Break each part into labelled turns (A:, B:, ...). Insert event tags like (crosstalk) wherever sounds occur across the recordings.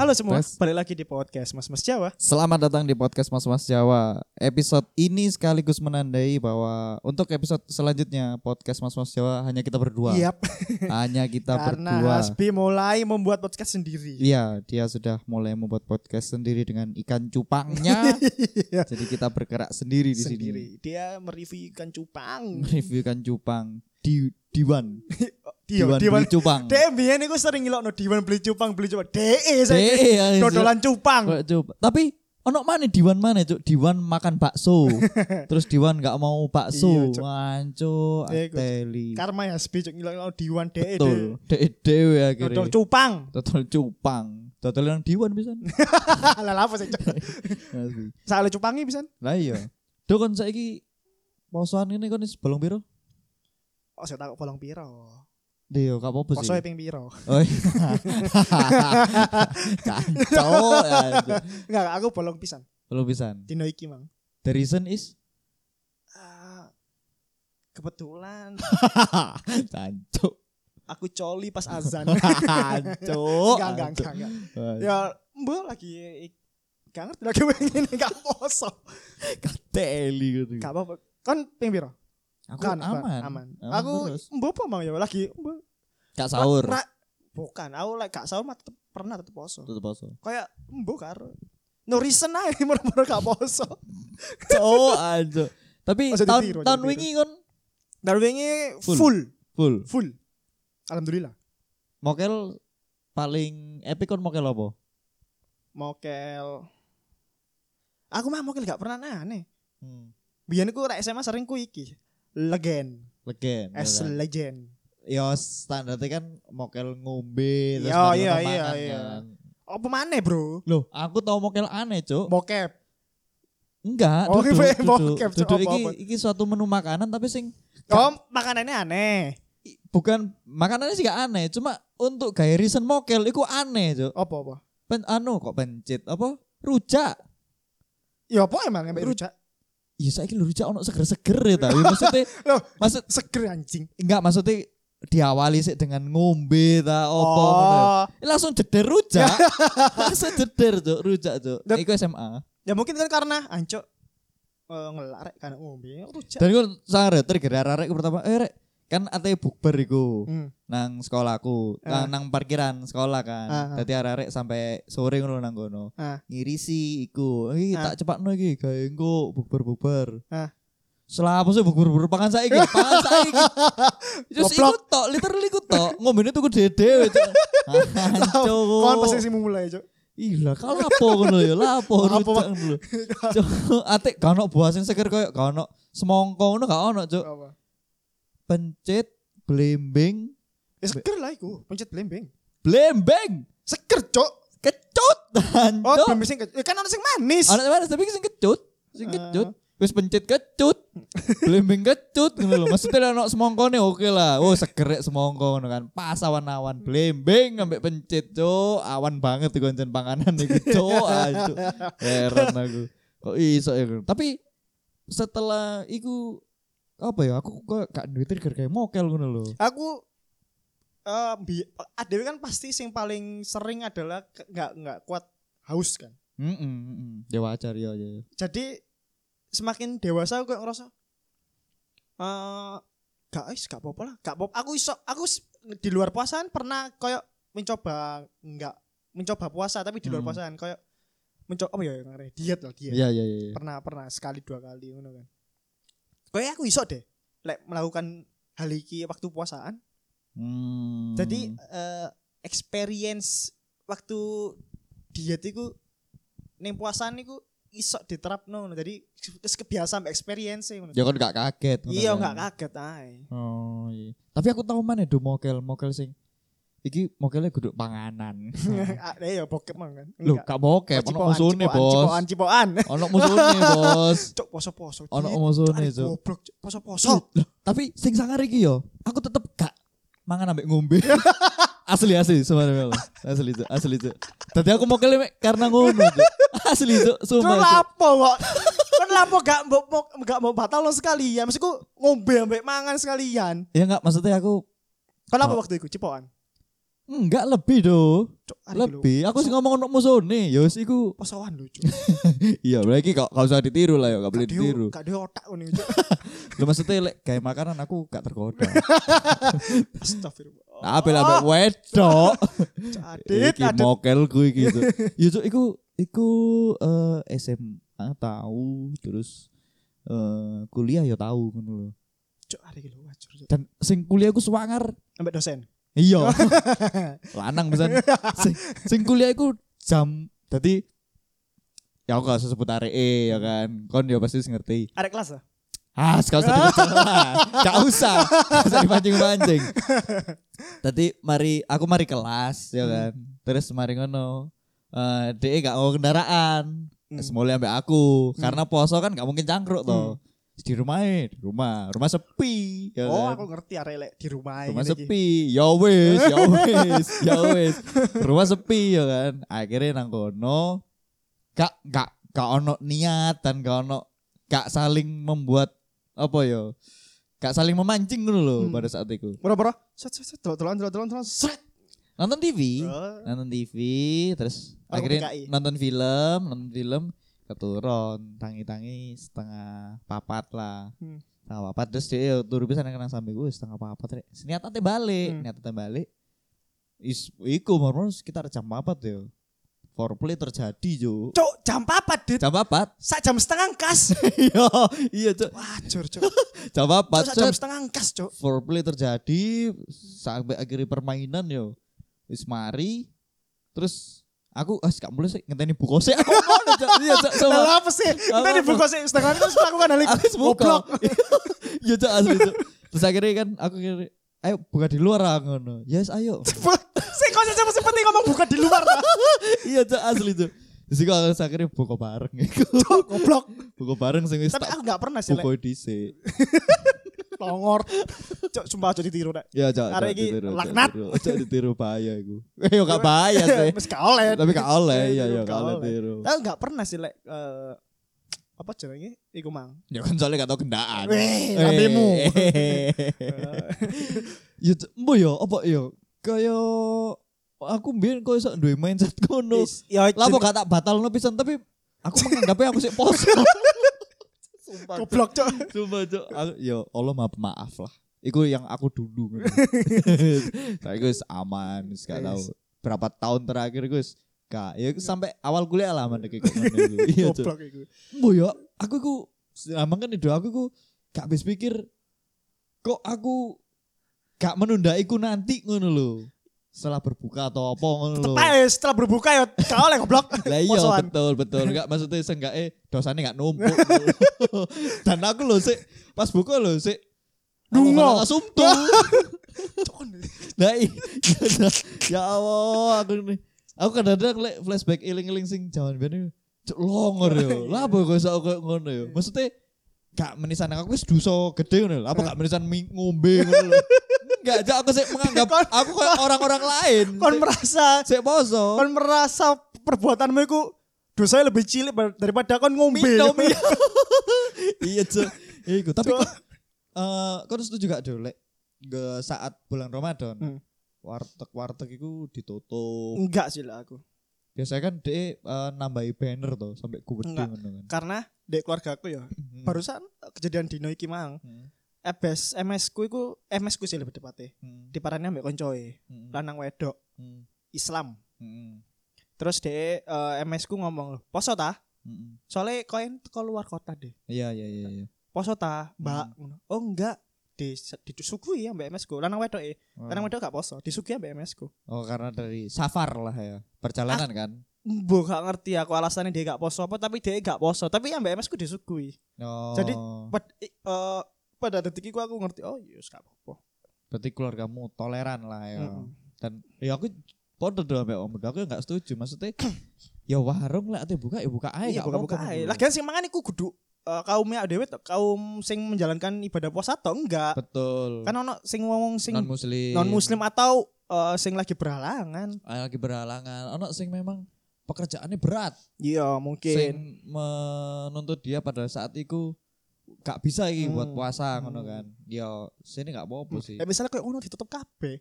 A: Halo semua,
B: Tes.
A: balik lagi di podcast Mas Mas Jawa.
B: Selamat datang di podcast Mas Mas Jawa. Episode ini sekaligus menandai bahwa untuk episode selanjutnya podcast Mas Mas Jawa hanya kita berdua.
A: Yap,
B: Hanya kita
A: Iya. karena
B: berdua.
A: Hasbi mulai membuat podcast sendiri.
B: Iya, dia sudah mulai membuat podcast sendiri dengan ikan cupangnya.
A: (laughs) Iya,
B: Jadi kita bergerak sendiri di
A: sendiri.
B: sini.
A: Dia mereview ikan cupang.
B: Review ikan cupang di Diwan.
A: Dia Iya,
B: Diwan,
A: Diwan
B: beli cupang.
A: Dia biyen iku sering ngilokno Diwan beli cupang, beli cupang. DE saya
B: Dee, ya,
A: dodolan cupang.
B: Kok coba. Tapi ono mana Diwan mana cuk? Diwan makan bakso.
A: (laughs)
B: Terus Diwan nggak mau
A: Iya,
B: bakso.
A: Cuk.
B: Wancu,
A: Iya, Cuk.
B: ateli.
A: Karma ya Hasbi cuk ngilokno Diwan DE.
B: Betul. Dek dewe
A: Dodol
B: akhirnya.
A: cupang. (laughs)
B: Dodol cupang. Dodol yang Diwan bisa.
A: Lah lah apa sih cuk?
B: Asli.
A: Sale cupangi pisan.
B: Lah iya. Do kon saiki posoan ngene kon is bolong piro?
A: Oh, saya takut bolong piro.
B: Iya, gak apa-apa sih.
A: Posoe ping piro. (laughs)
B: Oh iya. (laughs) Kacau. aduh.
A: Enggak, aku bolong pisan.
B: Belum ya, pisan.
A: Dino iki, Mang.
B: The reason
A: (laughs)
B: is (laughs)
A: Ah, kebetulan
B: Cancuk. (laughs)
A: aku coli pas azan.
B: Oh, Cancuk. iya.
A: enggak, enggak, enggak, enggak. Ya, mbok lagi gak ngerti lagi pengen (laughs) gak poso.
B: Teli gitu.
A: Gak apa-apa. Kan ping piro?
B: Aku
A: Kan
B: aman.
A: aman.
B: Aman
A: Aku
B: terus.
A: mbok apa mang ya lagi mbok.
B: Gak sahur.
A: Ra- bukan, aku lek gak sahur mah tetep pernah tetep poso.
B: Tutup poso.
A: Kayak mbok karo no reason ae (laughs) moro-moro gak poso.
B: Oh, aduh. Tapi
A: Ojo
B: tahun
A: ditiru, ojo
B: tahun
A: ditiru.
B: wingi kon
A: Dan wingi
B: Full.
A: full,
B: full.
A: full. Alhamdulillah.
B: Mokel paling epic kon mokel apa?
A: Mokel. Aku mah mokel gak pernah aneh.
B: Hmm.
A: Biyen aku rek SMA sering ku iki. Legend,
B: Legend. ya
A: as
B: kan?
A: legend.
B: Yo standarnya kan mokel ngombe terus Yo,
A: baru
B: iya,
A: ono
B: iya, makan,
A: iya.
B: kan.
A: Apa maneh, Bro?
B: Loh, aku tau mokel aneh, Cuk.
A: Bokep.
B: Enggak,
A: Oh,
B: duduk,
A: iya,
B: duduk.
A: bokep, Cuk,
B: Duduk iki
A: apa-apa.
B: iki suatu menu makanan tapi sing
A: Oh, makanannya aneh.
B: i- bukan makanannya sih gak aneh, cuma untuk gaya reason mokel iku aneh, Cuk.
A: Apa apa?
B: Pen, anu kok pencit apa? Rujak.
A: Ya apa emang yang rujak?
B: Iya, saiki lho rujak ono seger-seger ya tapi maksudnya
A: (laughs) Loh.
B: maksud
A: Seger anjing.
B: enggak maksudnya diawali sih dengan ngombe ta apa ngono ya.
A: oh.
B: Eh, langsung jeder rujak
A: (laughs)
B: langsung jeder tuh rujak tuh
A: Dan-
B: iku SMA
A: Ya mungkin kan karena ancok eh ngelarek karena ngombe rujak.
B: dan gue sangat trigger arek iku pertama eh rek kan ate bukber iku
A: Hmm.
B: nang sekolahku
A: Ah.
B: nang, nang parkiran sekolah kan
A: Ah, ah.
B: dadi arek sampai sore ngono nang kono
A: Ah.
B: ngirisi iku iki
A: Ah.
B: tak cepakno iki gawe engko bukber-bukber
A: Ah.
B: Selapus bukber-bukber pangan saiki, pangan
A: (laughs)
B: saiki. Terus
A: Goblok.
B: ikut tok, literally ikut tok. Ngombene tuku dede.
A: (laughs) Kon
B: Hancur.
A: pasti sih mulai, Cuk.
B: Ih lah kau lapo ngono ya, lapo
A: Lapo,
B: rujak
A: (laughs)
B: ngono. Cuk, atik gak ono buah sing seger koyo gak ono semangka ngono gak ono, Cuk.
A: Apa?
B: Pencit, blembing,
A: Ya seger lah iku, pencet blembeng.
B: blembeng,
A: Seger, Cuk.
B: kecut. (laughs)
A: Oh,
B: Hancur.
A: blembeng sing ya kan ono sing manis.
B: Ono manis tapi sing kecut, sing
A: Ah.
B: kecut. Wis pencit kecut. blembing kecut ngono lho. Maksudnya ono semangkane oke lah. Oh, seger rek semangka ngono kan. Pas awan-awan blembing ambek pencit, Cuk. Awan banget iku jen panganan iku, Cuk. Aduh. Heran aku. Kok iso ya, Gun? Tapi setelah iku apa ya aku kok gak duwe trigger kayak mokel ngono lho.
A: Aku eh bi- adewe kan pasti sing paling sering adalah ke- nggak nggak kuat haus kan.
B: Heeh, heeh. Ya wajar ya ya.
A: jadi semakin dewasa aku kayak ngerasa eh gak is gak apa-apa lah gak apa aku iso aku s- di luar puasaan pernah kayak mencoba enggak mencoba puasa tapi di luar
B: Hmm.
A: puasaan kayak mencoba apa ya namanya? diet lah diet
B: Iya iya iya. iya.
A: pernah pernah sekali dua kali ngono kan kayak aku iso deh lek melakukan hal iki waktu puasaan
B: Hmm.
A: jadi eh, experience waktu diet itu ning puasa niku iso diterapno ngono. Jadi wis kebiasaan mbak experience ngono.
B: ya kon gak kaget ngono
A: Iya enggak
B: kan.
A: kaget ae.
B: Oh iya. Tapi aku tahu mana do mokel, mokel sing iki mokelnya guduk (laughs) panganan.
A: (laughs) Ah, Eh ya bokep mang kan.
B: Lho,
A: Enggak.
B: gak mokel,
A: Oh,
B: Hmm. ono
A: cipokan,
B: musuhne,
A: cipokan,
B: Bos.
A: Cipokan cipokan. (laughs)
B: Ono musuhne, Bos.
A: Cuk poso-poso.
B: Ono
A: diet,
B: musuhne,
A: aduh,
B: Cuk.
A: Goblok Cuk, poso-poso.
B: Loh, tapi sing sangar iki yo, aku tetep gak mangan ambek ngombe. asli asli sebenarnya asli itu asli itu tadi aku mokel mek karena ngono Cuk. (laughs) asli
A: Cuk
B: itu sumpah Cuk.
A: lapo kok. (laughs) Kan lapo gak mbok mbok- gak mau batal lo sekalian. Maksudku ngombe ambek mangan sekalian.
B: ya enggak maksudnya aku
A: Kan apa
B: Oh.
A: waktu itu cipokan?
B: Enggak lebih do.
A: Cuk, hari iki lho.
B: Lebih. Aku sih ngomong untuk musuhnya. Ya wis iku.
A: Posowan lho, Cuk.
B: Iya, berarti kok gak usah ditiru lah ya, gak boleh
A: Gak deo-
B: ditiru.
A: Gak deo otak ngene, Cuk.
B: Lu maksudnya lek kayak makanan aku gak tergoda.
A: Astagfirullah.
B: Nah, bela bela wedok.
A: Cuk, Adit,
B: Iki
A: Adit.
B: mokel gue gitu. Ya Cuk, iku iku eh, SMA tahu terus eh, kuliah ya tahu ngono lho.
A: Cuk, hari iki lho, wajur, Cuk.
B: Dan sing kuliah aku swanger.
A: Ambek dosen.
B: Iya. Lanang pisan. Sing, sing kuliah iku jam dadi ya aku gak usah sebut areke ya kan. Kon ya pasti ngerti.
A: Arek kelas lah.
B: Ah, gak usah
A: (laughs)
B: dibicarakan. Gak Ah, usah. Gak usah dipancing-pancing. Tadi mari aku mari kelas
A: Hmm.
B: ya kan. Terus mari ngono. Eh DE gak mau kendaraan.
A: Hmm.
B: Semula ambek aku
A: Hmm.
B: karena poso kan gak mungkin cangkruk toh. Di rumah eh, di rumah, rumah sepi ya
A: Oh,
B: kan?
A: aku ngerti arek lek di rumah
B: rumah
A: ngene iki.
B: sepi ya wis ya wis ya wis rumah sepi ya kan akhirnya nang kono gak gak gak ono niat dan gak ono gak saling membuat apa ya gak saling memancing dulu loh
A: Hmm.
B: pada saat itu
A: Boro-boro. Set set set delok-delokan delok-delokan set.
B: nonton TV
A: Oh,
B: nonton TV terus
A: Aku
B: akhirnya
A: PKI.
B: nonton film nonton film keturun tangi-tangi setengah papat lah
A: Hmm.
B: setengah papat terus dia turu bisa nang sambil gue setengah papat rek niatnya balik
A: Hmm.
B: niatnya balik is iku murmur sekitar jam papat yo foreplay terjadi
A: (laughs)
B: jo
A: Cuk, jam apa, Dit?
B: jam papat
A: Sak jam setengah
B: (laughs)
A: kas.
B: iya iya cok
A: Wajur, Cuk.
B: jam papat
A: Cuk, sak
B: Cok.
A: jam setengah kas, Cuk.
B: foreplay terjadi sampai akhirnya permainan yo wis mari terus aku ah gak boleh sih ngenteni buku sih aku ngono, Cak. Iya, Cak, sama.
A: Lah apa sih? Kita
B: Apa?
A: dibuka sih setengah terus aku kan
B: (laughs)
A: halik.
B: aku buka
A: Goblok.
B: (laughs) ya cak asli Cak. terus akhirnya kan aku kira ayo buka di luar ah, ngono yes ayo (laughs)
A: Sih kok sih sama seperti ngomong buka di luar Pak.
B: iya cak asli tuh terus aku terus akhirnya buka bareng
A: Cuk, goblok.
B: buka bareng sing wis
A: Tapi aku
B: tak
A: gak pernah sih lek
B: buka dhisik
A: longor. Cuk, sumpah aja ditiru rek.
B: ya cak
A: Arek
B: cak
A: iki
B: ditiru, Cak,
A: laknat.
B: ditiru. Cak ditiru bahaya
A: (laughs)
B: iku eh yo gak bahaya sih
A: Iya, Wis gak oleh.
B: tapi gak oleh iya
A: Ditiru,
B: iya
A: gak
B: gak oleh
A: oleh.
B: tiru
A: Aku gak pernah sih lek eh, apa jenenge iku mang.
B: Ya (laughs) kan soalnya gak tau gendaan.
A: Weh, lambemu.
B: (laughs) Ya mbo yo apa yo kaya aku mbiyen kok iso duwe mindset ngono.
A: Is- Ya
B: Lah apa
A: jeneng-
B: gak tak batalno pisan tapi aku menganggapnya aku sik
A: (laughs)
B: poso. Sumpah. Cuk.
A: goblok cok.
B: Sumpah cuk. Aku- Yo Allah maaf maaf lah. Iku yang aku dulu.
A: (laughs)
B: ngono. Saya guys aman, wis gak tahu
A: Wis.
B: berapa tahun terakhir guys. Gak, ya sampai awal kuliah lah mandek
A: (laughs)
B: iku. ngono iku. (laughs) Iya Cuk.
A: Goblok iku.
B: Mbo ya, aku iku selama kan hidup aku iku gak habis pikir kok aku gak menunda iku nanti ngono lho. Setelah berbuka atau apa ngono lho.
A: Tetep ae setelah berbuka ya gak oleh goblok.
B: (laughs) Lah iya
A: Posoan.
B: betul betul enggak maksudnya seenggaknya dosanya gak
A: (laughs)
B: numpuk. Dan aku lho sik pas buka lho sik
A: Dungo. (laughs)
B: Sumtu.
A: Cuk.
B: Nah, i- ya Allah aku ini. Aku kadang-kadang lek flashback iling-iling sing jaman biyen iku, cuk longor yo. Lah apa kok iso kok ngono yo. Maksudnya gak menisan aku wis dosa gede ngono lho. Apa gak menisan mi- ngombe ngono lho. Enggak, Cuk, aku sih menganggap aku kayak orang-orang lain.
A: Kon merasa
B: Sik poso.
A: kon merasa perbuatanmu iku dosanya lebih cilik bar- daripada kon ngombe.
B: Minum iya. Iya, Cuk. Iku tapi
A: Cuk.
B: kok eh kon setuju gak dolek Nggak saat bulan Ramadan.
A: Hmm.
B: Warteg-warteg itu ditutup.
A: (laughs) Enggak sih lah aku.
B: biasanya kan dia eh, nambahi banner tuh sampai gede
A: Enggak.
B: ngono kan.
A: Karena dek keluarga aku ya
B: Hmm.
A: barusan kejadian dino iki mang
B: Hmm.
A: ebes MS ku iku MS ku sih lebih tepatnya
B: Hmm.
A: diparani ambek koncoe
B: Hmm.
A: lanang wedok
B: Hmm.
A: Islam
B: Hmm.
A: terus dek eh, MS ku ngomong loh poso ta
B: Hmm.
A: soalnya koin teko luar kota deh
B: Iya iya iya iya.
A: poso ta
B: Hmm.
A: mbak oh enggak di disugui ya ambek MS ku lanang wedok e
B: Hmm.
A: lanang wedok gak poso ya disugui ambek MS ku
B: Oh karena dari safar lah ya. Perjalanan
A: Ah.
B: kan.
A: Mbo gak ngerti aku alasannya dia gak poso apa tapi dia gak poso tapi ya ambek MS ku disugui
B: Oh.
A: Jadi, Pad, i- eh, pada detik itu aku ngerti oh yes gak apa-apa
B: berarti keluargamu toleran lah ya.
A: Mm-mm.
B: Dan ya aku podo dong ambek om aku nggak setuju maksudnya (clears throat) ya warung lah ate buka ya buka aja
A: iya
B: nggak
A: buka-buka
B: apa-apa
A: ae.
B: gitu.
A: Lagian sing mangan iku kudu eh, kaumnya dhewe to, kaum sing menjalankan ibadah puasa to enggak.
B: betul
A: Kan ono sing wong sing
B: non muslim
A: non muslim atau eh, sing lagi berhalangan.
B: lagi berhalangan ono sing memang pekerjaannya berat
A: Iya, mungkin.
B: sing menuntut dia pada saat itu gak bisa iki buat
A: Hmm.
B: puasa ngono
A: Hmm.
B: kan. Ya sini gak apa-apa sih.
A: Ya misalnya kayak ono ditutup oh, kabeh.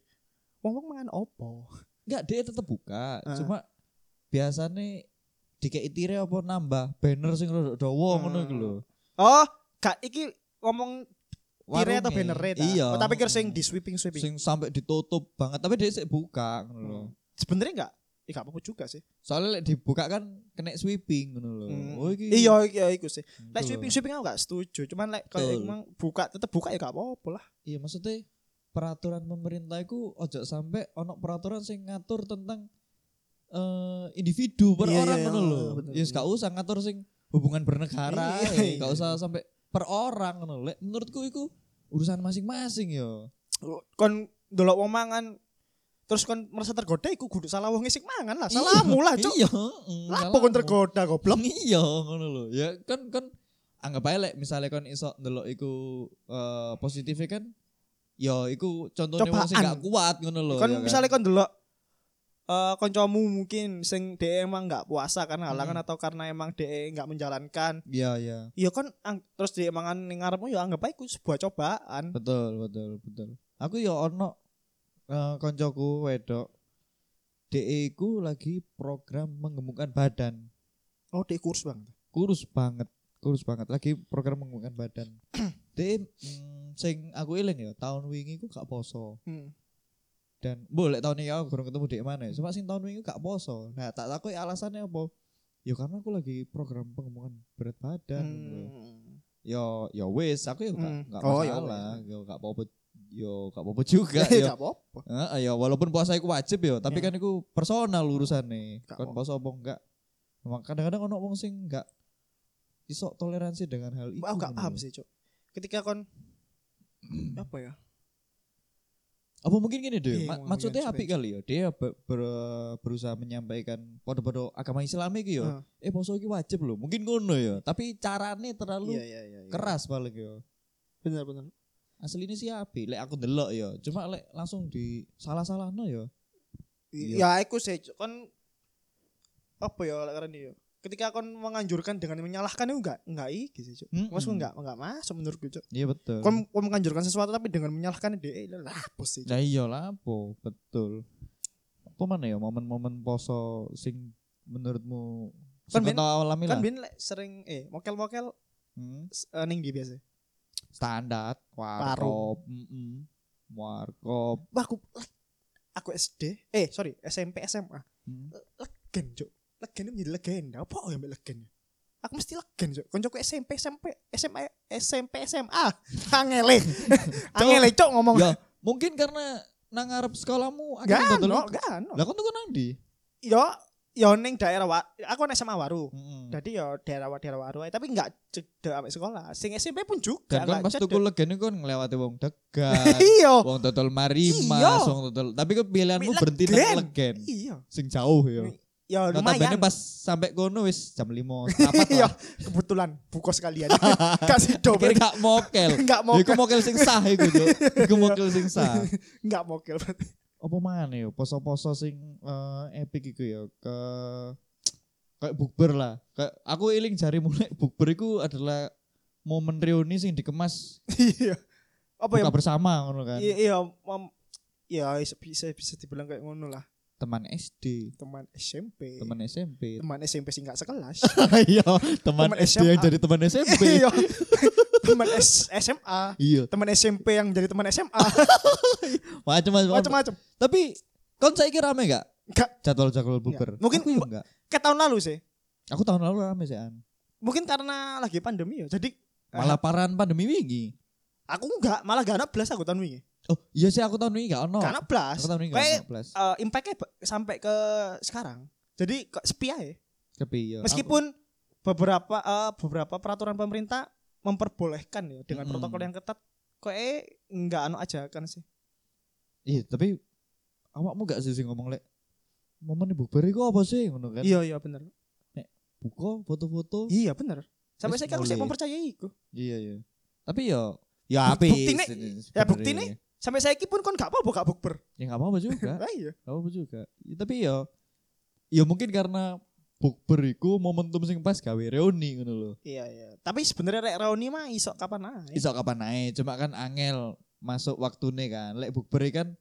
A: wong-wong mangan opo?
B: Enggak, dia tetep buka.
A: Ah.
B: Cuma biasanya dikei tire apa nambah banner sing rodok dawa
A: Ah.
B: ngono iku lho.
A: Oh, gak iki ngomong tire atau
B: Warungnya.
A: banner ta?
B: Iya.
A: Oh, tak pikir sing di sweeping sweeping.
B: sing sampai ditutup banget, tapi dia sik buka ngono lho.
A: Hmm. Sebenarnya enggak Eh, gak apa-apa juga sih.
B: Soalnya lek dibuka kan kena sweeping ngono lho.
A: Hmm.
B: Oh iki. gitu.
A: Iya, iya, iku sih.
B: Ngono
A: Lek
B: lho.
A: sweeping sweeping aku gak setuju. Cuman lek kalau
B: Betul.
A: emang buka tetep buka ya gak apa-apa lah.
B: Iya maksudnya peraturan pemerintah iku ojo sampai ono peraturan sing ngatur tentang eh individu per
A: Iya,
B: orang
A: iya,
B: ngono
A: iya,
B: lho.
A: betul.
B: Ya gak usah ngatur sing hubungan bernegara,
A: Iya,
B: ya. gak
A: iya.
B: usah sampai per orang ngono. Lek menurutku iku urusan masing-masing yo.
A: Kon delok wong mangan terus kon merasa tergoda iku kudu salah wong sing mangan lah.
B: Iya,
A: Salahmu lah, Ah, Cuk.
B: Iya, heeh,
A: Lah
B: salahmu.
A: kon tergoda goblok.
B: Iya ngono lho. Ya kan kan anggap ae lek misale kon iso ndelok iku eh positifnya kan ya iku contohnya wong sing
A: Cobaan.
B: gak kuat ngono lho.
A: Kon
B: ya kan?
A: misalnya kon delok eh koncomu mungkin sing dhek emang nggak puasa karena halangan atau karena emang dhek nggak menjalankan.
B: Iya, iya.
A: Ya kon ang- terus dhek mangan ning ngarepmu ya anggap ae iku sebuah cobaan.
B: Betul, betul, betul. Aku ya ono eh, koncoku wedok. DE ku lagi program menggemukkan badan.
A: Oh, dhek kurus bang.
B: Kurus banget, kurus banget. Lagi program menggemukkan badan.
A: (clears throat)
B: DE mm, sing aku eling ya, tahun wingi ku gak poso.
A: Hmm.
B: Dan boleh tahun ini aku kurang ketemu DE mana. ya. Cuma sing tahun wingi ku gak poso. Nah, tak takoi alasannya apa? Ya karena aku lagi program pengembangan berat badan.
A: Hmm.
B: Yo yo wis, aku ya gak,
A: Hmm.
B: gak
A: Oh, ya
B: masalah. Yo gak apa-apa. Yo gak apa-apa
A: (laughs)
B: juga.
A: Gak
B: yo.
A: ya apa-apa.
B: Heeh, ya walaupun puasa iku wajib ya, tapi
A: Ya.
B: kan iku personal urusane.
A: Gak
B: Kon
A: kok.
B: puasa apa enggak. Emang Kadang-kadang ono wong sing enggak iso toleransi dengan hal itu.
A: Aku gak paham sih, Cuk. Ketika kon apa ya?
B: Apa mungkin gini deh,
A: Iya,
B: ma-
A: ngomongin
B: maksudnya
A: sepeda.
B: apik kali ya. Dia be- ber- berusaha menyampaikan podo-podo agama Islam iki ya. Eh poso iki wajib loh. Mungkin ngono ya, tapi carane terlalu
A: iya, iya.
B: keras paling ya.
A: Bener, bener.
B: Aslinya sih apik, lek aku ndelok ya. Cuma lek langsung di salah-salahno ya. Iya.
A: Ya, aku sih Cuk. kon apa ya lek keren ya. Ketika kon menganjurkan dengan menyalahkan itu enggak enggak iki sih, Cuk.
B: Mm-mm.
A: Maksudku enggak enggak masuk menurutku, Cuk.
B: Hmm, Iya betul.
A: Kon kon menganjurkan sesuatu tapi dengan menyalahkan dia eh, lah bos sih. Kan Cuk.
B: Lah iya lah po, betul. Apa mana ya momen-momen poso sing menurutmu
A: Kan
B: sing
A: ben-
B: tau alami lah.
A: Kan bin lek sering eh mokel-mokel
B: Hmm,
A: s- eh, ning di biasa.
B: standar, warkop, mm-mm. warkop.
A: Wah, aku lek- aku SD, eh sorry SMP SMA.
B: Hmm.
A: Legen, Cuk. Legen itu menjadi legenda. Apa yang legen? Aku mesti legen, Cuk. Koncoku SMP SMP SMA SMP SMA.
B: (laughs)
A: Angele. Angele, Cuk ngomong.
B: Ya, mungkin karena nang ngarep sekolahmu
A: Gak
B: akhirnya
A: ono,
B: dodol-
A: gak ono.
B: Lah kon tuh nang ndi?
A: Yo, yo ning daerah wa, aku nang SMA Waru.
B: Mm-mm.
A: Jadi yo daerah daerah Waru ae, tapi enggak cedek ambek sekolah. Sing SMP pun juga
B: Dan kon
A: enggak
B: pas tuku
A: (laughs) cedek.
B: legene kon ngelewati wong degan,
A: Iya.
B: wong dodol
A: Iya.
B: marimas, wong dodol. Tapi kepilihanmu berhenti
A: Legen.
B: nang legen.
A: Iya.
B: Sing jauh ya.
A: Ya
B: Notabene
A: lumayan.
B: pas sampai kono wis jam
A: (laughs)
B: 5, rapat
A: Iya,
B: lah.
A: kebetulan buka sekalian. (laughs) Kasih dobel.
B: Kira gak
A: (laughs)
B: Ya, mokel.
A: Enggak
B: Mau
A: mau
B: iku mokel sing sah iku, Cuk. Iku mokel sing
A: (laughs)
B: sah.
A: enggak mau kill.
B: Apa maneh yo poso-poso sing eh, epic iku ya ke kayak bukber lah. Kayak aku iling jari mulai (laughs) bukber iku adalah momen reuni sing dikemas
A: Iya. Apa ya?
B: buka bersama ngono kan.
A: Iya, iya, mom- ya bisa bisa bisa dibilang kayak ngono lah.
B: Teman SD,
A: Teman SMP.
B: teman
A: (laughs)
B: SMP.
A: Teman SMP sih enggak
B: (laughs)
A: sekelas.
B: Iya, teman
A: Teman
B: SD yang
A: SMA.
B: jadi teman SMP.
A: (laughs) Iya. Teman S- SMA.
B: Iya,
A: Teman SMP yang jadi teman SMA.
B: macam-macam.
A: Macam-macam.
B: Tapi kon saiki rame gak?
A: Gak.
B: Jadwal-jadwal bukber.
A: Nggak. Iya. Mungkin-
B: aku yo enggak.
A: Kayak tahun lalu sih.
B: Aku tahun lalu rame sih an.
A: Mungkin karena lagi pandemi ya. Jadi
B: Malah paran pandemi wingi.
A: aku enggak, malah gak ada belas aku tahun ini.
B: Oh iya sih aku tahun ini gak ono.
A: Gak ada belas.
B: Aku tahun ini gak
A: Kayak
B: ono plus.
A: eh, impact-nya ba- sampai ke sekarang. Jadi kok sepi aja.
B: Tapi ya.
A: Meskipun beberapa eh, beberapa peraturan pemerintah memperbolehkan ya dengan
B: Mm-mm.
A: protokol yang ketat, kok eh nggak anu aja kan sih.
B: Aku- Iya tapi awakmu gak sih sing ngomong lek momen bukber iku apa sih ngono kan?
A: Iya iya benar.
B: Buka foto-foto.
A: Iya benar. Sampai
B: Wis
A: saya aku sih
B: mulai.
A: mempercayai iku.
B: Iya iya. Tapi ya ya
A: Buk-
B: apik
A: buktine-
B: sih
A: ya
B: sebenarnya.
A: buktine. Sampai saya pun kon gak apa-apa gak bukber.
B: Ya gak apa-apa juga.
A: Lah iya.
B: gak apa-apa juga. Ya, tapi ya ya mungkin karena bukber iku momentum sing pas gawe reuni ngono lho.
A: Iya iya. Tapi sebenarnya rek reuni mah iso kapan ae.
B: Iso kapan ae, cuma kan angel masuk waktune kan. Lek bukber kan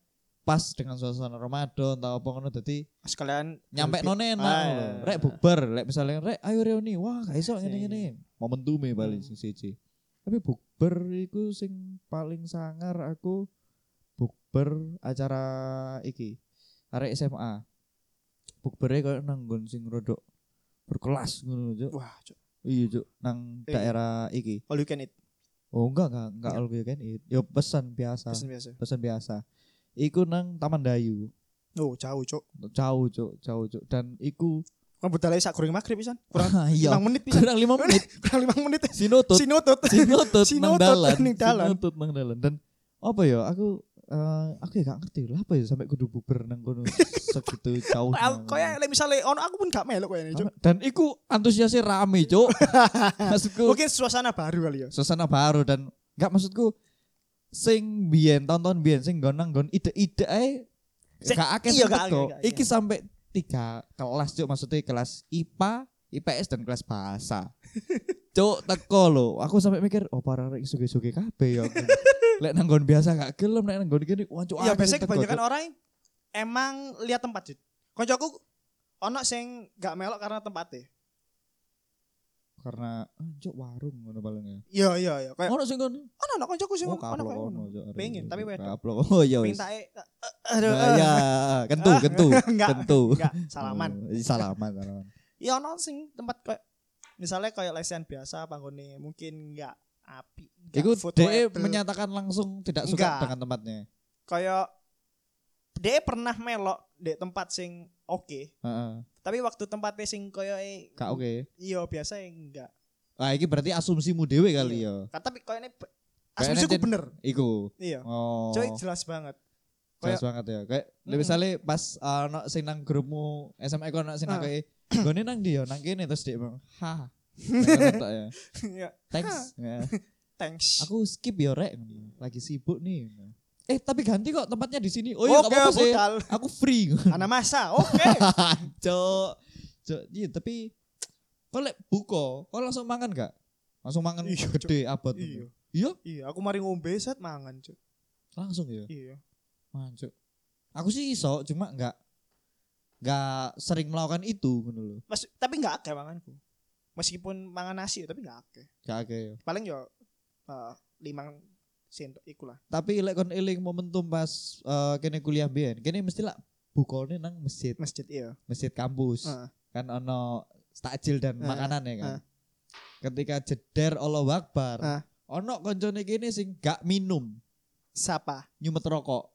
B: pas dengan suasana Ramadan atau apa ngono dadi
A: sekalian
B: nyampe
A: gelbit.
B: none enak
A: Ah,
B: lho.
A: iya.
B: rek bubar rek misalnya rek ayo reuni wah gak iso
A: Iya,
B: Hmm. ngene ngene momentume ya paling sing siji tapi bukber iku sing paling sangar aku bukber acara iki arek SMA bukbere koyo nang nggon sing rodok berkelas ngono Cuk.
A: wah cuk.
B: iya Cuk, nang
A: Eh.
B: daerah iki
A: all you can eat
B: oh enggak enggak enggak all you can eat yo pesan biasa
A: pesan biasa
B: pesan biasa iku nang Taman Dayu
A: oh jauh cuk
B: jauh Cuk, jauh Cuk. dan iku
A: kan budal sak goreng maghrib pisan kurang
B: (laughs) iya
A: 5 menit pisan
B: kurang lima menit
A: kurang 5 menit
B: sinutut
A: sinutut
B: sinutut nang
A: Sinutut
B: dalan
A: ning dalan.
B: sinutut nang dalan dan apa ya aku eh, aku ya gak ngerti lah apa ya sampai kudu buber nang kono segitu jauh
A: kayak misalnya ya, ono aku pun gak melok kayaknya cuk
B: dan iku antusiasnya rame cuk maksudku
A: mungkin suasana baru kali ya
B: suasana baru dan nggak maksudku sing biyen tonton biyen sing nggon nang nggon ide-ide ae
A: Sik,
B: gak akeh
A: iya,
B: sempet
A: gak akeh,
B: kok.
A: gak akeh.
B: Iki sampe tiga kelas cuk maksudnya kelas IPA, IPS dan kelas
A: (laughs)
B: bahasa. Cuk teko lho, aku sampe mikir oh para arek suge-suge
A: (laughs)
B: kabeh ya. aku. Lek nang nggon biasa gak gelem, lek nang nggon gini wah cuk.
A: Iya
B: akeh
A: biasanya
B: sing teko,
A: kebanyakan
B: Cuk.
A: orang emang lihat tempat Jud. Koncoku ono sing gak melok karena tempatnya.
B: karena ah, cuk warung ngono paling ya.
A: Iya iya iya. Kayak
B: Ono sing ngono.
A: ono ono koncoku sing
B: Oh
A: ono ono
B: kaplok
A: kayak
B: ono
A: ngono.
B: cuk.
A: Pengen, tapi wedok.
B: Kaplok. Oh iya wis.
A: Mintae eh, eh, aduh.
B: Nah,
A: eh.
B: ya,
A: (laughs)
B: kentu,
A: Ah,
B: kentu,
A: enggak,
B: kentu.
A: Enggak, salaman.
B: Oh, iya, salaman, salaman.
A: Iya ono sing tempat kayak misalnya kayak lesian biasa panggone mungkin enggak api. enggak
B: Iku
A: food
B: DE
A: label.
B: menyatakan langsung tidak suka
A: Enggak.
B: dengan tempatnya.
A: kayak DE pernah melok di tempat sing oke,
B: Heeh.
A: tapi waktu tempatnya sing kayak
B: Kak oke.
A: iya biasa enggak.
B: Lah iki berarti asumsimu dhewe kali ya.
A: Ka- Tapi kayaknya be-
B: Kayaknya
A: asumsiku
B: Jud-
A: bener.
B: Iku.
A: Iya.
B: Oh.
A: Coy jelas banget. (laughs)
B: jelas
A: kayak-
B: banget ya. Kayak
A: Mm-mm.
B: misalnya pas ana sing nang grupmu SMA kono sing nang
A: Ah.
B: (clears throat) kayak gone nang ndi ya nang kene terus dia bilang, (laughs) "Ha." Ngono tok ya.
A: ya,
B: Thanks. Ya.
A: thanks.
B: Aku skip ya rek. Lagi sibuk nih. Eh tapi ganti kok tempatnya di sini. Oh iya
A: Oke,
B: nggak apa-apa sih.
A: budal.
B: Aku free.
A: Anak masa,
B: (laughs)
A: oke.
B: Cok. Cok, iya tapi kok lek buka, kok langsung mangan gak? Langsung mangan
A: Iya, Cok.
B: gede abot.
A: Iya.
B: Iya,
A: Iya, aku mari ngombe set mangan, Cuk.
B: langsung ya.
A: Iya.
B: Mancuk. Aku sih iso, cuma enggak enggak sering melakukan itu ngono lho.
A: Mas, tapi enggak akeh manganku. Meskipun mangan nasi tapi enggak akeh.
B: Gak akeh. ya.
A: Paling yo eh, limang sendok iku lah.
B: Tapi lek kon eling momentum pas eh, kene kuliah biyen, kene mesti lah bukone nang masjid,
A: Masjid iya.
B: masjid kampus.
A: Heeh.
B: Kan ono takjil dan
A: Heeh,
B: makanan ya kan.
A: heeh.
B: Ketika jeder Allahu Akbar,
A: Heeh.
B: ono koncone kene sing gak minum.
A: Sapa?
B: nyumet (laughs) rokok.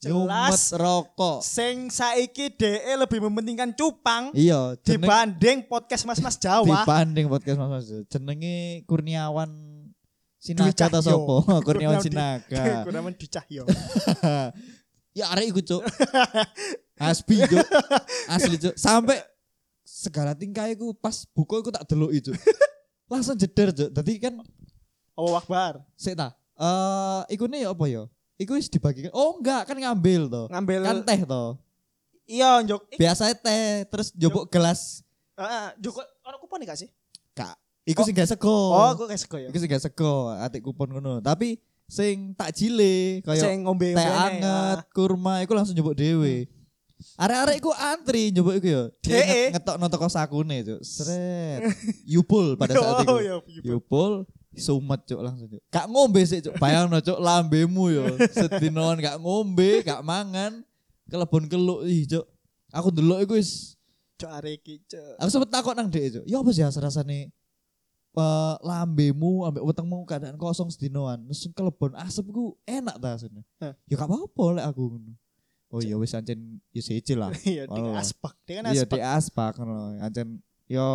B: nyumet
A: Jelas
B: rokok.
A: sing saiki DE lebih mementingkan cupang
B: Oh. Iya, jeneng
A: dibanding podcast mas-mas Jawa.
B: dibanding podcast Mas Mas. Jenenge Kurniawan
A: Dwi
B: Sinaga
A: Cahyo.
B: ta sapa? (laughs)
A: Kurniawan
B: Kurniawan
A: Dwi- (laughs)
B: (laughs) Sinaga.
A: Gue namen dicahyo.
B: ya arek iku, Cuk. Asbi, Cuk. Asli, Cuk. Sampai segala tingkah iku pas buka iku tak deloki, (laughs) Cuk. Langsung jeder, Cuk. Dadi kan
A: Allah Akbar.
B: sik ta. Eh, iku ne ya apa ya? Iku wis dibagikan. Oh, enggak, kan ngambil to.
A: Ngambil
B: Kan teh to.
A: iya njok. Eh,
B: Biasanya teh terus njupuk gelas
A: Heeh, njok. Ono kupon gak sih?
B: Kak, iku sing gak sego.
A: Oh, gue kayak sego ya.
B: iku sing gak sego, atik kupon ngono. Tapi sing tak jile kaya
A: Sing Ah. ngombe
B: teh anget, kurma iku langsung nyebut dhewe.
A: Hmm.
B: Arek-arek iku antri nyebut iku ya.
A: Dee.
B: ngetok toko sakune, Cuk.
A: (laughs)
B: Sret. Yupul pada saat
A: Oh,
B: itu.
A: ya,
B: Yupul sumet cuk langsung cuk. Gak ngombe sih cuk. Bayangno cuk lambemu yo. Sedinoan gak ngombe, gak mangan, kelebon keluk ih cuk. Aku ndelok iku wis
A: Cok arek iki, cok.
B: Aku sempet takut nang dhek itu. Ya apa sih rasa-rasane eh lambemu ambek wetengmu keadaan kosong sedinoan. Terus kelebon asep ku enak ta asline.
A: Heh.
B: Ya gak apa-apa lek aku ngono. Oh ya wis ancen ya siji lah.
A: (laughs) Iya, di
B: Walah.
A: aspak. Dia kan
B: oh. Iya
A: aspak.
B: dhek aspak ngono. Ancen yo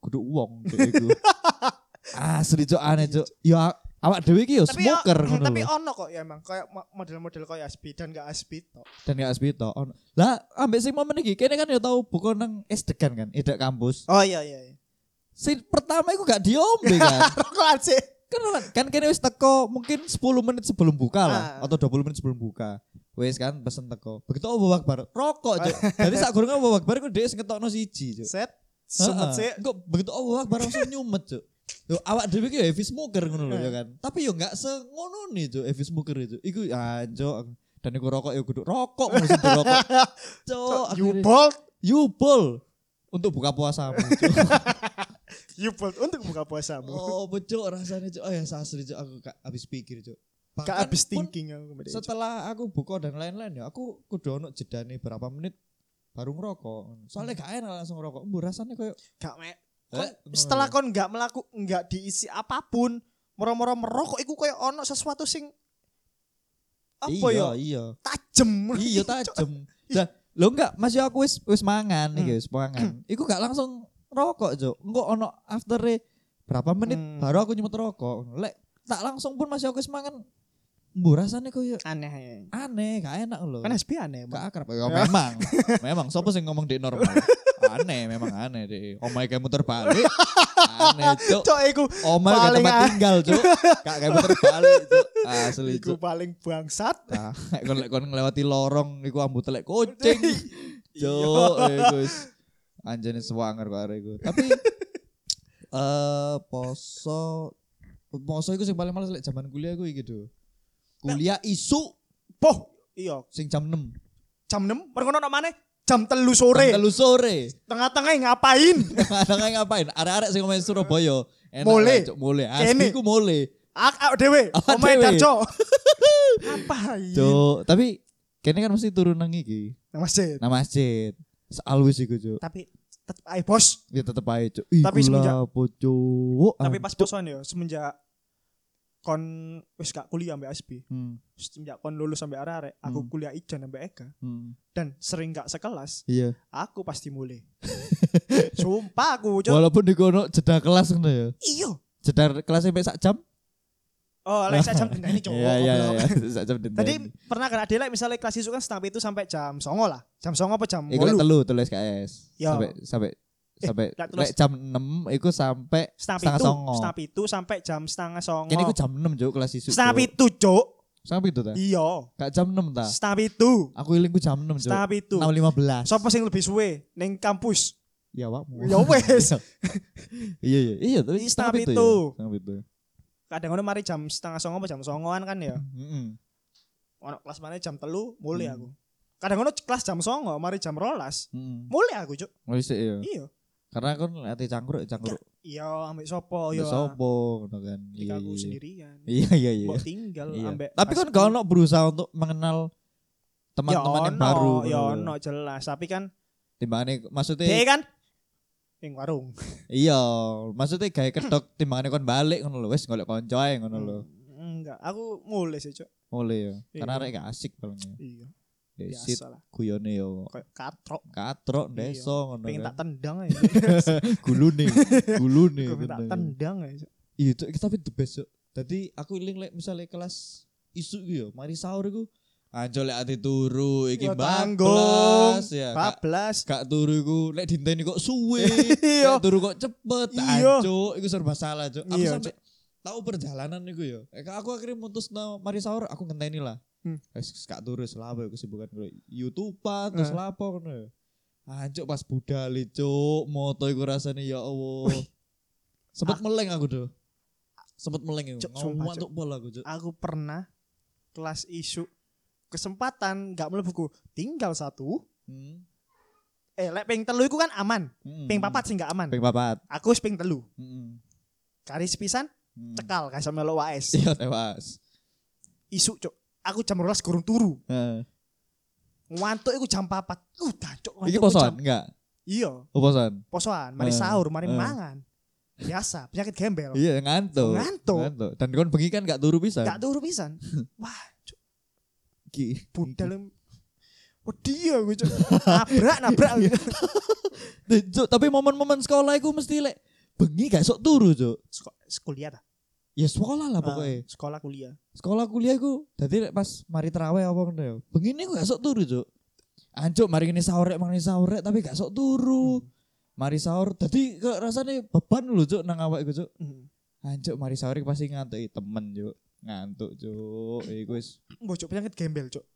B: kudu uang cuk
A: (laughs)
B: iku. Asli cuk aneh cuk. Ya awak dhewe iki
A: Iya,
B: yo
A: Tapi ya- (laughs)
B: smoker ngono.
A: tapi
B: lho.
A: ono kok ya emang kayak mo- model-model kayak asbi dan gak asbi tok.
B: Dan gak asbi to. Ono. Lah ambek sing momen iki kene kan yo tau buka nang esdegan kan, edak kampus.
A: Oh iya iya. (laughs) iya.
B: Sing pertama iku gak diombe
A: (laughs)
B: kan.
A: Rokokan sih.
B: kan kan- kan kene wis teko mungkin 10 menit sebelum buka lah
A: Ah.
B: atau 20 menit sebelum buka wis kan pesen teko begitu Allahu Akbar rokok cuk jadi sak gurung Allahu Akbar ku dhek ngetokno siji cuk
A: Set.
B: Ah,
A: Sumet sih.
B: kok begitu Allahu Akbar langsung nyumet cuk Yo, awak dhewe ki ya heavy smoker ngono lho ya kan. Tapi yo enggak se ngono nih cuk heavy smoker itu. Iku anjo. Dan iku rokok ya kudu rokok ngono sing rokok. Cuk,
A: Cok, you
B: Oh, akhirnya-
A: bold,
B: Yubol untuk buka puasamu. Cuk.
A: you bold untuk buka puasamu.
B: oh, becok rasanya cuk. Oh ya sasri cuk aku gak habis pikir cuk. Bahkan
A: Gak habis
B: pun
A: thinking aku mbak Dek.
B: Setelah aku buka dan lain-lain ya aku kudu ono jedane berapa menit baru ngerokok. Soalnya gak enak langsung ngerokok. Mbuh rasanya koyo
A: Gak me.
B: Eh,
A: kon-
B: ngono.
A: setelah kon gak melaku, gak diisi apapun, moro-moro merokok, iku kayak ono sesuatu sing apa
B: iya,
A: ya
B: Iya,
A: tajem (laughs)
B: iya tajem. Dah, lo enggak masih aku wis wis mangan
A: Hmm.
B: iki wis mangan. Iku gak langsung rokok, Cuk. Engko ono after berapa menit
A: Hmm.
B: baru aku nyemut rokok. Lek tak langsung pun masih aku wis mangan. Mbuh rasane koyo
A: aneh ya.
B: aneh, gak enak lho.
A: kan SB aneh
B: gak
A: Mbak.
B: akrab ya, memang. memang sopo sing ngomong di normal. aneh, memang aneh deh. Omae kayak muter balik. aneh, Cuk.
A: cok iku
B: Omae gak
A: Paling
B: tempat
A: aneh.
B: tinggal, Cuk. Gak kayak muter balik, Cuk. Asli,
A: iku
B: Cuk.
A: paling bangsat
B: Nah, kon lek kon ngelewati lorong iku ambu telek kucing.
A: Iya.
B: Cuk, eh Gus. Anjene sewanger kok arek iku. Tapi eh poso poso iku sing paling males lek zaman kuliah iku iki do. Kuliah isu
A: poh iya
B: sing jam 6.
A: jam 6 merkono nang mana jam telu
B: Jam
A: sore
B: telu sore.
A: tengah-tengah ngapain
B: Kadang ngapain? Arek-arek sing omahe Surabaya. Enak
A: Mole.
B: lah, Cuk, mole. Asli
A: Kene.
B: iku mole.
A: ak ak dewe
B: Awak
A: omae
B: dhewe. (laughs)
A: darjo ngapain
B: Cuk, tapi kene kan mesti turun nang iki.
A: nang masjid
B: Nang masjid. Alwis iku, Cuk.
A: tapi tetep ae bos
B: Ya tetep ae, Cuk.
A: Tapi semenjak-
B: pocok.
A: tapi pas bosan ya semenjak kon wis gak kuliah ambek SB
B: Hmm,
A: semenjak kon lulus sampai arek-arek aku
B: Hmm.
A: kuliah ijen ambek Eka
B: hmm.
A: dan sering gak sekelas
B: Iya.
A: aku pasti
B: (laughs)
A: mulai sumpah aku Cuk.
B: Walaupun di kono jeda kelas ngono ya.
A: iya
B: Jeda kelasnya sampai sak jam.
A: Oh, lek sak jam dendani cowok.
B: (laughs) Iya iya
A: goblok.
B: iya. Sak jam dendani.
A: Tadi pernah kan ada lek misalnya kelas isu kan setengah itu sampai jam songo lah. Jam songo apa jam
B: iku lek
A: bolu?
B: telu tulis KS.
A: Yo.
B: Sampai sampai
A: Ya. Eh,
B: sampai
A: lek telu-
B: lek jam 6 iku sampai
A: Setengah
B: setengah
A: itu,
B: songo.
A: setengah itu sampai jam setengah songo.
B: Kene iku jam 6 Cuk kelas isu.
A: setengah
B: Cuk.
A: itu cok.
B: Setengah itu ta?
A: Iya.
B: Gak jam 6 ta?
A: Setengah itu.
B: Aku iling ku jam 6 Cuk.
A: Setengah itu.
B: 6.15.
A: Sopo sing lebih suwe ning kampus?
B: Ya wakmu.
A: Ya wes.
B: (laughs) Iya iya. Iya tapi
A: Setengah
B: setengah pitu.
A: pitu.
B: ya. Setengah pitu.
A: Kadang ngono mari jam setengah songo apa jam songoan kan ya.
B: Heeh.
A: Ono kelas mana jam telu mulai
B: Hmm.
A: aku. Kadang ngono kelas jam songo mari jam rolas
B: Heeh.
A: mulai aku cok.
B: Wis ya.
A: Iya.
B: Karena kan ati cangkruk cangkruk.
A: Iya, ambek sopo ya.
B: Mbak Sopo ngono kan.
A: Ketika aku
B: Iya, iya.
A: sendirian.
B: Iya iya iya.
A: Mbok tinggal
B: Iya.
A: ambek.
B: Tapi kan
A: pas-
B: gak ono berusaha untuk mengenal teman-teman yang baru.
A: Ya
B: ngono.
A: ono jelas, tapi kan
B: Timbangane maksudnya
A: dia kan ing warung.
B: iya, maksudnya gawe kedok timbangane kon balik ngono lho wis golek kanca ae ngono lho.
A: Enggak, aku mulai sih, Cuk.
B: Oleh ya.
A: Hmm.
B: Karena
A: Iya.
B: arek gak asik paling ya.
A: Iya,
B: Ya sit
A: biasa lah.
B: guyone yo
A: Kayak katrok,
B: katrok
A: Iya.
B: deso ngono
A: pengen tak
B: kan.
A: tendang
B: (laughs)
A: aja.
B: Gulune, gulune.
A: Pengen tak
B: bener.
A: tendang aja. Cuk.
B: ya. Iya, Cuk, iki tapi the best. Cuk. Dadi aku eling lek misale kelas isu iki yo, mari sahur iku. Anjol lek ati turu iki
A: Ya,
B: bablas
A: tanggung.
B: ya. gak-
A: 14.
B: gak turu iku lek dinteni kok suwe
A: (laughs) Iya.
B: lek turu kok cepet
A: Iya.
B: anco iku serba salah cuk aku
A: Iya,
B: sampe tahu perjalanan iku ya Eh, aku akhirnya mutus mari sahur aku ngenteni lah
A: Hmm.
B: wis wis gak turu selapa aku kesibukan gue youtube terus
A: Eh.
B: lapo ngono ya. anco pas budal cuk moto iku rasane ya
A: (laughs)
B: Allah sempet meleng aku do sempet meleng aku
A: Ah. Cuk, sumpah,
B: ngomong
A: Cuk.
B: untuk bola aku cuk
A: Aku pernah kelas isu kesempatan gak mlebuku tinggal satu
B: Hmm.
A: eh lek ping telu iku kan aman
B: Mm-mm.
A: ping papat sih gak aman
B: ping papat Hmm.
A: aku wis ping telu
B: Mm-mm.
A: karis pisan
B: Mm.
A: cekal kasih melo waes
B: iya tewas
A: isu cuk aku jam 12 kurung turu
B: Heeh.
A: ngantuk iku jam 4 uh dancuk
B: Iki
A: ngantukku jam-
B: poson enggak?
A: iya
B: Oh poson.
A: posoan mari
B: Eh,
A: sahur mari
B: eh.
A: mangan biasa penyakit gembel
B: Iya ngantuk.
A: Ngantuk.
B: Dan kon bengi kan gak turu bisa.
A: gak turu pisan wah cuk
B: Ki.
A: budal wedi aku cuk nabrak nabrak
B: Iya. Cuk, tapi momen-momen sekolah iku mesti lek bengi gak sok turu, Cuk.
A: Seko- sekolah dah
B: Ya sekolah lah
A: Eh,
B: pokoknya.
A: sekolah kuliah
B: Sekolah kuliah iku dadi lek pas mari terawih apa ngono ya. Bengi iku gak sok turu, Cuk. Anjuk mari ngene sahur rek, mari sahur rek, tapi gak sok turu.
A: Hmm.
B: Mari sahur. Dadi kok rasane beban lho, Cuk, nang awak iku, Cuk.
A: Hmm.
B: Anjuk mari sahur iku pasti ngantuk Ih, temen, Cuk. Ngantuk, Cuk. Iku wis
A: Hmm, Mbok cuk penyakit gembel cuk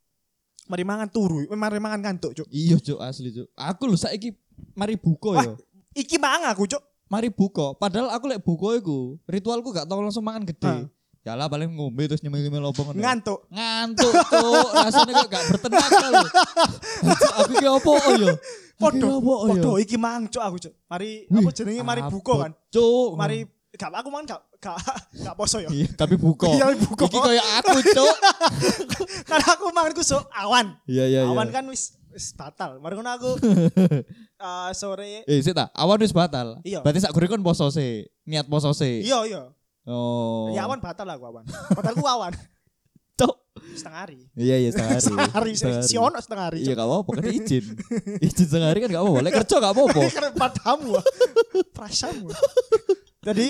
A: mari mangan turu eh, mari mangan ngantuk cuk
B: Iya cuk asli cuk. Aku lho saiki mari buka
A: Wah.
B: ya.
A: iki mang aku cuk
B: Mari buka. Padahal aku lek buka iku ritualku gak tau langsung mangan gede.
A: Ah.
B: Ya lah paling ngombe terus nyemil-nyemil opo ngono.
A: ngantuk
B: Ngantuk
A: (laughs)
B: tuh, rasanya kok gak bertenaga lho. Cuk, iya? Aku oh, ki opo yo?
A: Podo,
B: opo
A: Waduh iki mang cuk aku cuk. Mari apa jenenge mari buka kan.
B: Cuk.
A: Mari gak aku mang gak gak (laughs) gak poso ya.
B: Oh. Iya, tapi buka.
A: (laughs) Iya, buka.
B: Iki kayak aku, Cuk.
A: Karena aku mangan kusuk awan.
B: Iya, iya, iya.
A: Awan kan wis wis batal. Mari ngono aku eh, sore
B: Eh, sik ta, awan wis batal.
A: Iya.
B: Berarti sak gure kon poso sih, niat poso sih.
A: Iya iya.
B: Oh.
A: Ya awan batal lah aku awan. Batalku awan (laughs)
B: Cuk.
A: setengah hari.
B: Iya, iya,
A: (laughs)
B: sehari.
A: Setengah hari si
B: Sehari.
A: si ono setengah hari.
B: Iya
A: Cuk.
B: gak apa-apa
A: (laughs)
B: kan izin Izin sehari kan gak apa-apa Lek kerja gak apa-apa
A: Karena padamu. Perasaanmu. Jadi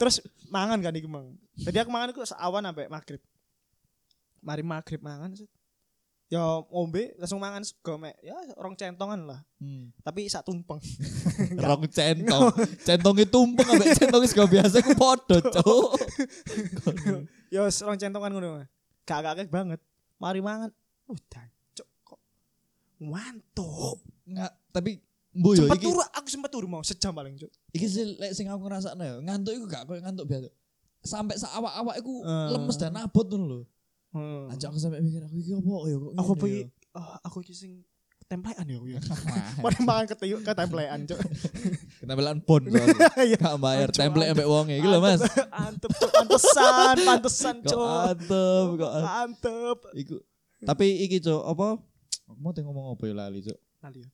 A: terus mangan kan iki mang. Tadi aku mangan iku awan sampai maghrib. Mari maghrib mangan. set. Ya ombe langsung mangan sego mek. Ya rong centongan lah.
B: Hmm.
A: Tapi sak tumpeng.
B: Rong centong Centongnya tumpeng Sampai centongnya sego biasa Aku podo cok
A: Ya wis, rong centongan ngono. Gak kakek banget. Mari mangan. Udah cok kok. Ngantuk.
B: Nggak, Tapi Bu yo
A: Sempet
B: Oh, iya, iki
A: turu aku sempet turu mau sejam paling cok.
B: iki sih lek sing aku ngrasakno ya ngantuk iku gak koyo ngantuk biasa. Sampai sak awak-awak iku
A: Eh.
B: lemes dan abot ngono lho.
A: Hmm.
B: Ajak aku sampe mikir aku iki opo ya kok.
A: Aku
B: ngene
A: apa
B: ya?
A: iki? Oh, aku iki sing templean ya aku
B: (laughs)
A: ya. Mari mangan keteyuk ke templean cok.
B: Ketempelan bon soalnya.
A: Iya.
B: Gak bayar
A: Ancuk,
B: template
A: ancuk.
B: ambek wonge iki lho gitu Mas.
A: Antep, Cuk.
B: (laughs)
A: pantesan, pantesan,
B: Kok
A: Cuk.
B: antep kok. an-
A: Antep.
B: Iku. Tapi iki cok apa? Mau tengok ngomong apa ya lali cok.
A: Lali ya.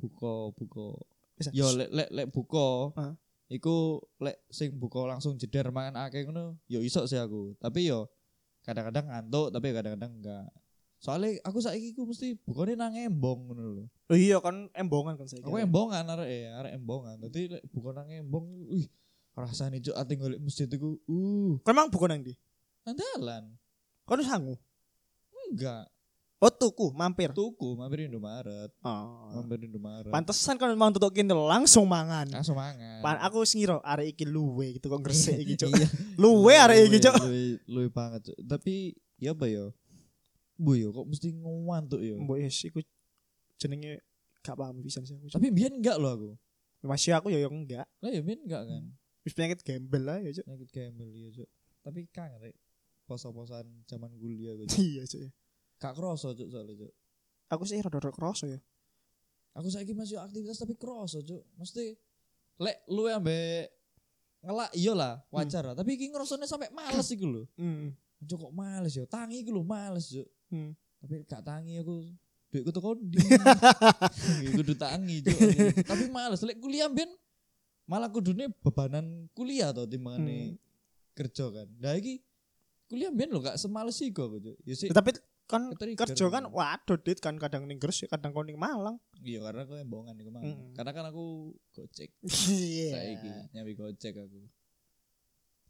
B: Buka buka.
A: Bisa.
B: Yo lek lek lek buka.
A: Heeh.
B: Iku lek sing buka langsung jeder mangan akeh ngono, yo iso sih aku. Tapi yo kadang-kadang ngantuk, tapi kadang-kadang enggak. Soalnya aku saiki ku mesti bukane nang embong ngono lho.
A: Oh iya kan embongan kan saya.
B: Aku embongan arek ya, arek embongan. Dadi lek buka nang embong, wih, rasane cuk ati golek masjid iku. Uh,
A: Kau emang bukan nang di?
B: nang dalan.
A: Kau nu sangu?
B: Enggak,
A: Oh tuku, mampir.
B: tuku mampir Indomaret,
A: Oh.
B: mampir Ah. Indomaret.
A: Pantesan kan memang tutup kintil langsung mangan.
B: langsung mangan.
A: Pan aku wis ngira arek iki luwe gitu kok gresik iki,
B: (laughs)
A: Cuk.
B: Iya.
A: Luwe arek iki, Cuk.
B: Luwe- Luwe banget, Cuk. Tapi ya apa ya? Bu yo kok mesti ya? ngantuk yo.
A: Mbok wis iku jenenge gak paham pisan sih aku. Cuk.
B: Tapi biyen enggak loh aku.
A: Masih aku ya yo enggak.
B: Lah ya biyen enggak kan.
A: Wis penyakit gembel lah ya, Cuk.
B: Nyakit gembel ya, Cuk. Tapi kangen rek poso-posoan zaman kuliah gue.
A: (laughs) Iya, Cuk. ya.
B: Gak kroso Cuk soalnya Cuk.
A: Aku sih rada-rada kroso ya.
B: Aku saiki masih aktivitas tapi kroso Cuk. Mesti lek lu ambe ngelak iya lah wajar lah. Tapi iki ngrasane sampai males iku lho.
A: Hmm.
B: Cuk kok males yo. Tangi iku lho males Cuk.
A: Hmm.
B: Tapi gak tangi aku duitku tuh (laughs) kondi. Kudu tangi Cuk. Tapi males lek kuliah ben malah kudune bebanan kuliah to timbangane kerja kan. Nah iki kuliah ben lho gak semales sih kok Cuk. Ya
A: Ya,
B: sih.
A: tapi kan
B: Ketrigger.
A: kerja kan waduh dit kan kadang ning Gresik kadang kon ning Malang. (laughs)
B: Iya karena aku embongan iku mah.
A: Mm-mm.
B: Karena kan aku gojek
A: Iya.
B: saiki nyambi gojek aku.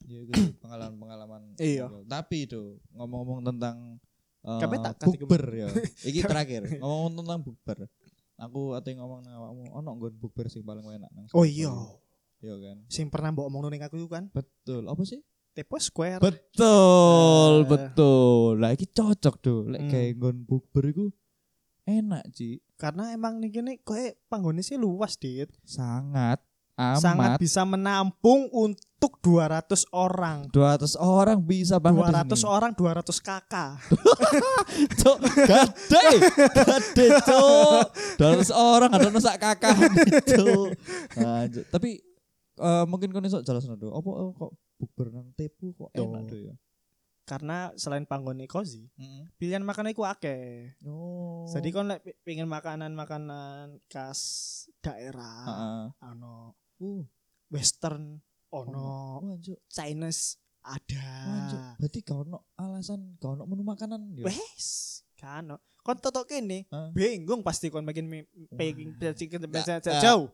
B: Ya itu pengalaman-pengalaman.
A: Iya.
B: Tapi do ngomong-ngomong tentang eh,
A: Kabeh tak kasih
B: bukber ya. Iki terakhir ngomong tentang bukber. Aku ate ngomong nang awakmu ono nggon bukber sing paling enak nang.
A: Oh iya,
B: Iya kan.
A: sing pernah mbok omongno ning aku iku kan
B: Betul. Apa sih?
A: Tepo Square. Eh.
B: Betul, betul. Lah iki cocok do lek
A: Hmm.
B: gawe nggon bukber iku enak, Ci.
A: Karena emang ning kene koe panggone sih luas, Dit.
B: Sangat amat
A: Sangat bisa menampung untuk 200 orang.
B: 200 orang bisa banget
A: 200 orang 200 kakak.
B: cok gade gade cok 200 orang ada nusak kakak itu tapi eh, mungkin kau nesok jelas nado apa eh, kok bukber nang tepu kok
A: Tuh.
B: enak do ya
A: Karena selain panggone kozi, pilihan makanan iku akeh.
B: oh
A: Jadi kon lek pi- pingin makanan-makanan khas daerah,
B: Heeh.
A: ano
B: uh
A: western,
B: Oh.
A: ono Ah.
B: wah, Cuk.
A: Chinese
B: Wah, Cuk.
A: ada.
B: berarti kau no alasan kau no menu makanan ya
A: Wes, kan. Kon totok kene,
B: Hah?
A: bingung pasti kon makin mi- packing packing
B: Nggak,
A: packing-
B: ah, (laughs)
A: jauh.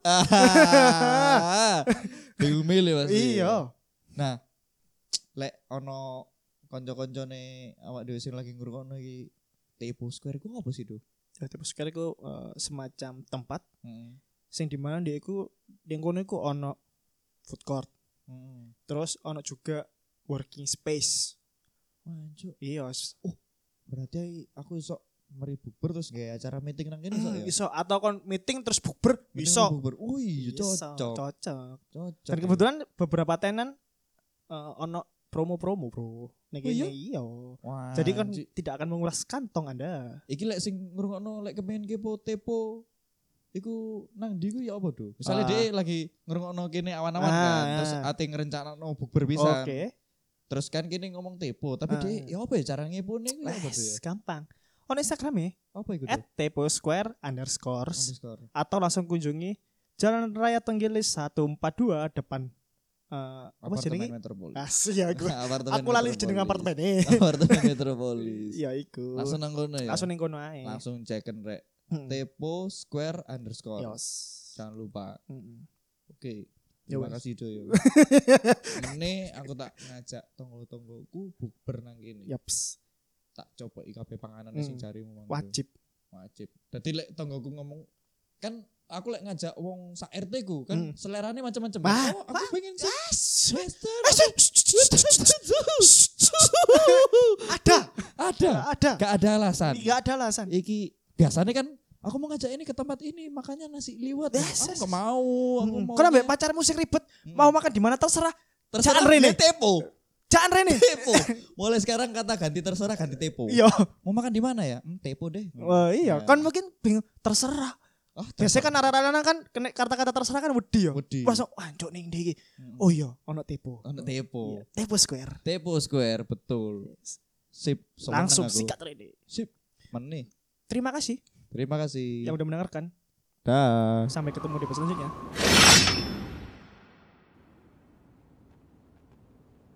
B: ah. bingung milih pasti
A: Iya.
B: Nah, ya, lek ono kanca-kancane awak dhewe sing lagi ngrungokno iki Tepo Square ku apa sih, Du?
A: Jadi terus Ya, sekali ku eh, semacam tempat sing dimana dia ku yang kono iku ono food court,
B: Heeh.
A: terus ono juga working space.
B: Wancuk,
A: Iya, s-
B: berarti ai- aku iso meri bukber terus gawe acara meeting nang kene iso ya.
A: Mm, iso atau kon meeting terus bukber
B: Meeting
A: iso.
B: nang bukber. Wih,
A: Iso,
B: cocok.
A: cocok.
B: Cocok.
A: Dan kebetulan beberapa tenan eh, ono promo-promo, Bro. Nek
B: Oh, iya?
A: ini iya. Jadi kan tidak akan mengulas kantong Anda.
B: iki lek sing ngrungokno lek kepengen kepo tepo iku nang ndi ku ya apa do? Misalnya
A: Ah.
B: dia lagi ngrungokno kene awan-awan kan,
A: Ah.
B: terus ate ngrencanakno bukber pisan.
A: Oke.
B: Terus kan kene ngomong tepo, tapi
A: Ah.
B: dia ya apa ya cara ngepone ku ya apa do ya?
A: Les, gampang. On Instagram ya,
B: Apa iku do?
A: at tepo square underscores.
B: Underscore.
A: atau langsung kunjungi Jalan Raya Tenggilis 142 depan eh apa
B: Apartemen
A: jenenge?
B: Metropolis.
A: Asih ya aku.
B: (laughs) Apartemen
A: aku lali jeneng
B: Metropolis.
A: apartemen eh.
B: (laughs) Apartemen Metropolis.
A: (laughs) Ya iku.
B: Langsung nang kono ya.
A: Langsung ning kono ae.
B: Langsung cekin rek
A: Hmm.
B: tepo square underscore.
A: Yos. Hmm.
B: Jangan lupa.
A: Mm-mm.
B: Oke.
A: Ya
B: Terima
A: wes.
B: kasih Doyo.
A: (laughs)
B: Mene aku tak ngajak tonggo-tonggoku bukber nang kene.
A: Yaps.
B: Tak coba kabeh panganan
A: Hmm.
B: sing jarimu mang. Doyo.
A: Wajib.
B: Wajib. Dadi lek tonggoku ngomong kan aku lek ngajak wong sak RT ku kan
A: Hmm.
B: selerane macam-macam.
A: Wah,
B: Oh, aku pengen sing Western.
A: Ada,
B: Ada.
A: ada.
B: Gak ada alasan.
A: Enggak ada alasan.
B: Iki biasanya kan aku mau ngajak ini ke tempat ini makanya nasi liwet.
A: Yes,
B: aku
A: yes.
B: gak mau. Aku
A: Mm.
B: mau. Mm.
A: Kau ambek pacarmu sing ribet, mau makan di mana terserah.
B: terserah
A: Jangan Rene.
B: dia tepo.
A: Jangan Rene.
B: Tepo. Mulai sekarang kata ganti terserah ganti tepo.
A: Iya.
B: Mau makan di mana ya? Hmm, tepo deh.
A: Wah, iya,
B: Ya.
A: kan mungkin bingung terserah.
B: Ah,
A: Biasanya
B: terserah.
A: kan arah-arah kan kena kata-kata terserah kan wedi ya.
B: Wedi.
A: Pas anjuk ning ndi iki.
B: Hmm.
A: Oh iya, ono tepo.
B: Ono tepo.
A: Iya, Tepo square.
B: Tepo Square betul. Sip. seneng
A: Langsung
B: aku.
A: sikat rene.
B: Sip. Menih.
A: Terima kasih
B: Terima kasih.
A: yang
B: Iya.
A: udah mendengarkan.
B: Dah.
A: Sampai ketemu di episode selanjutnya.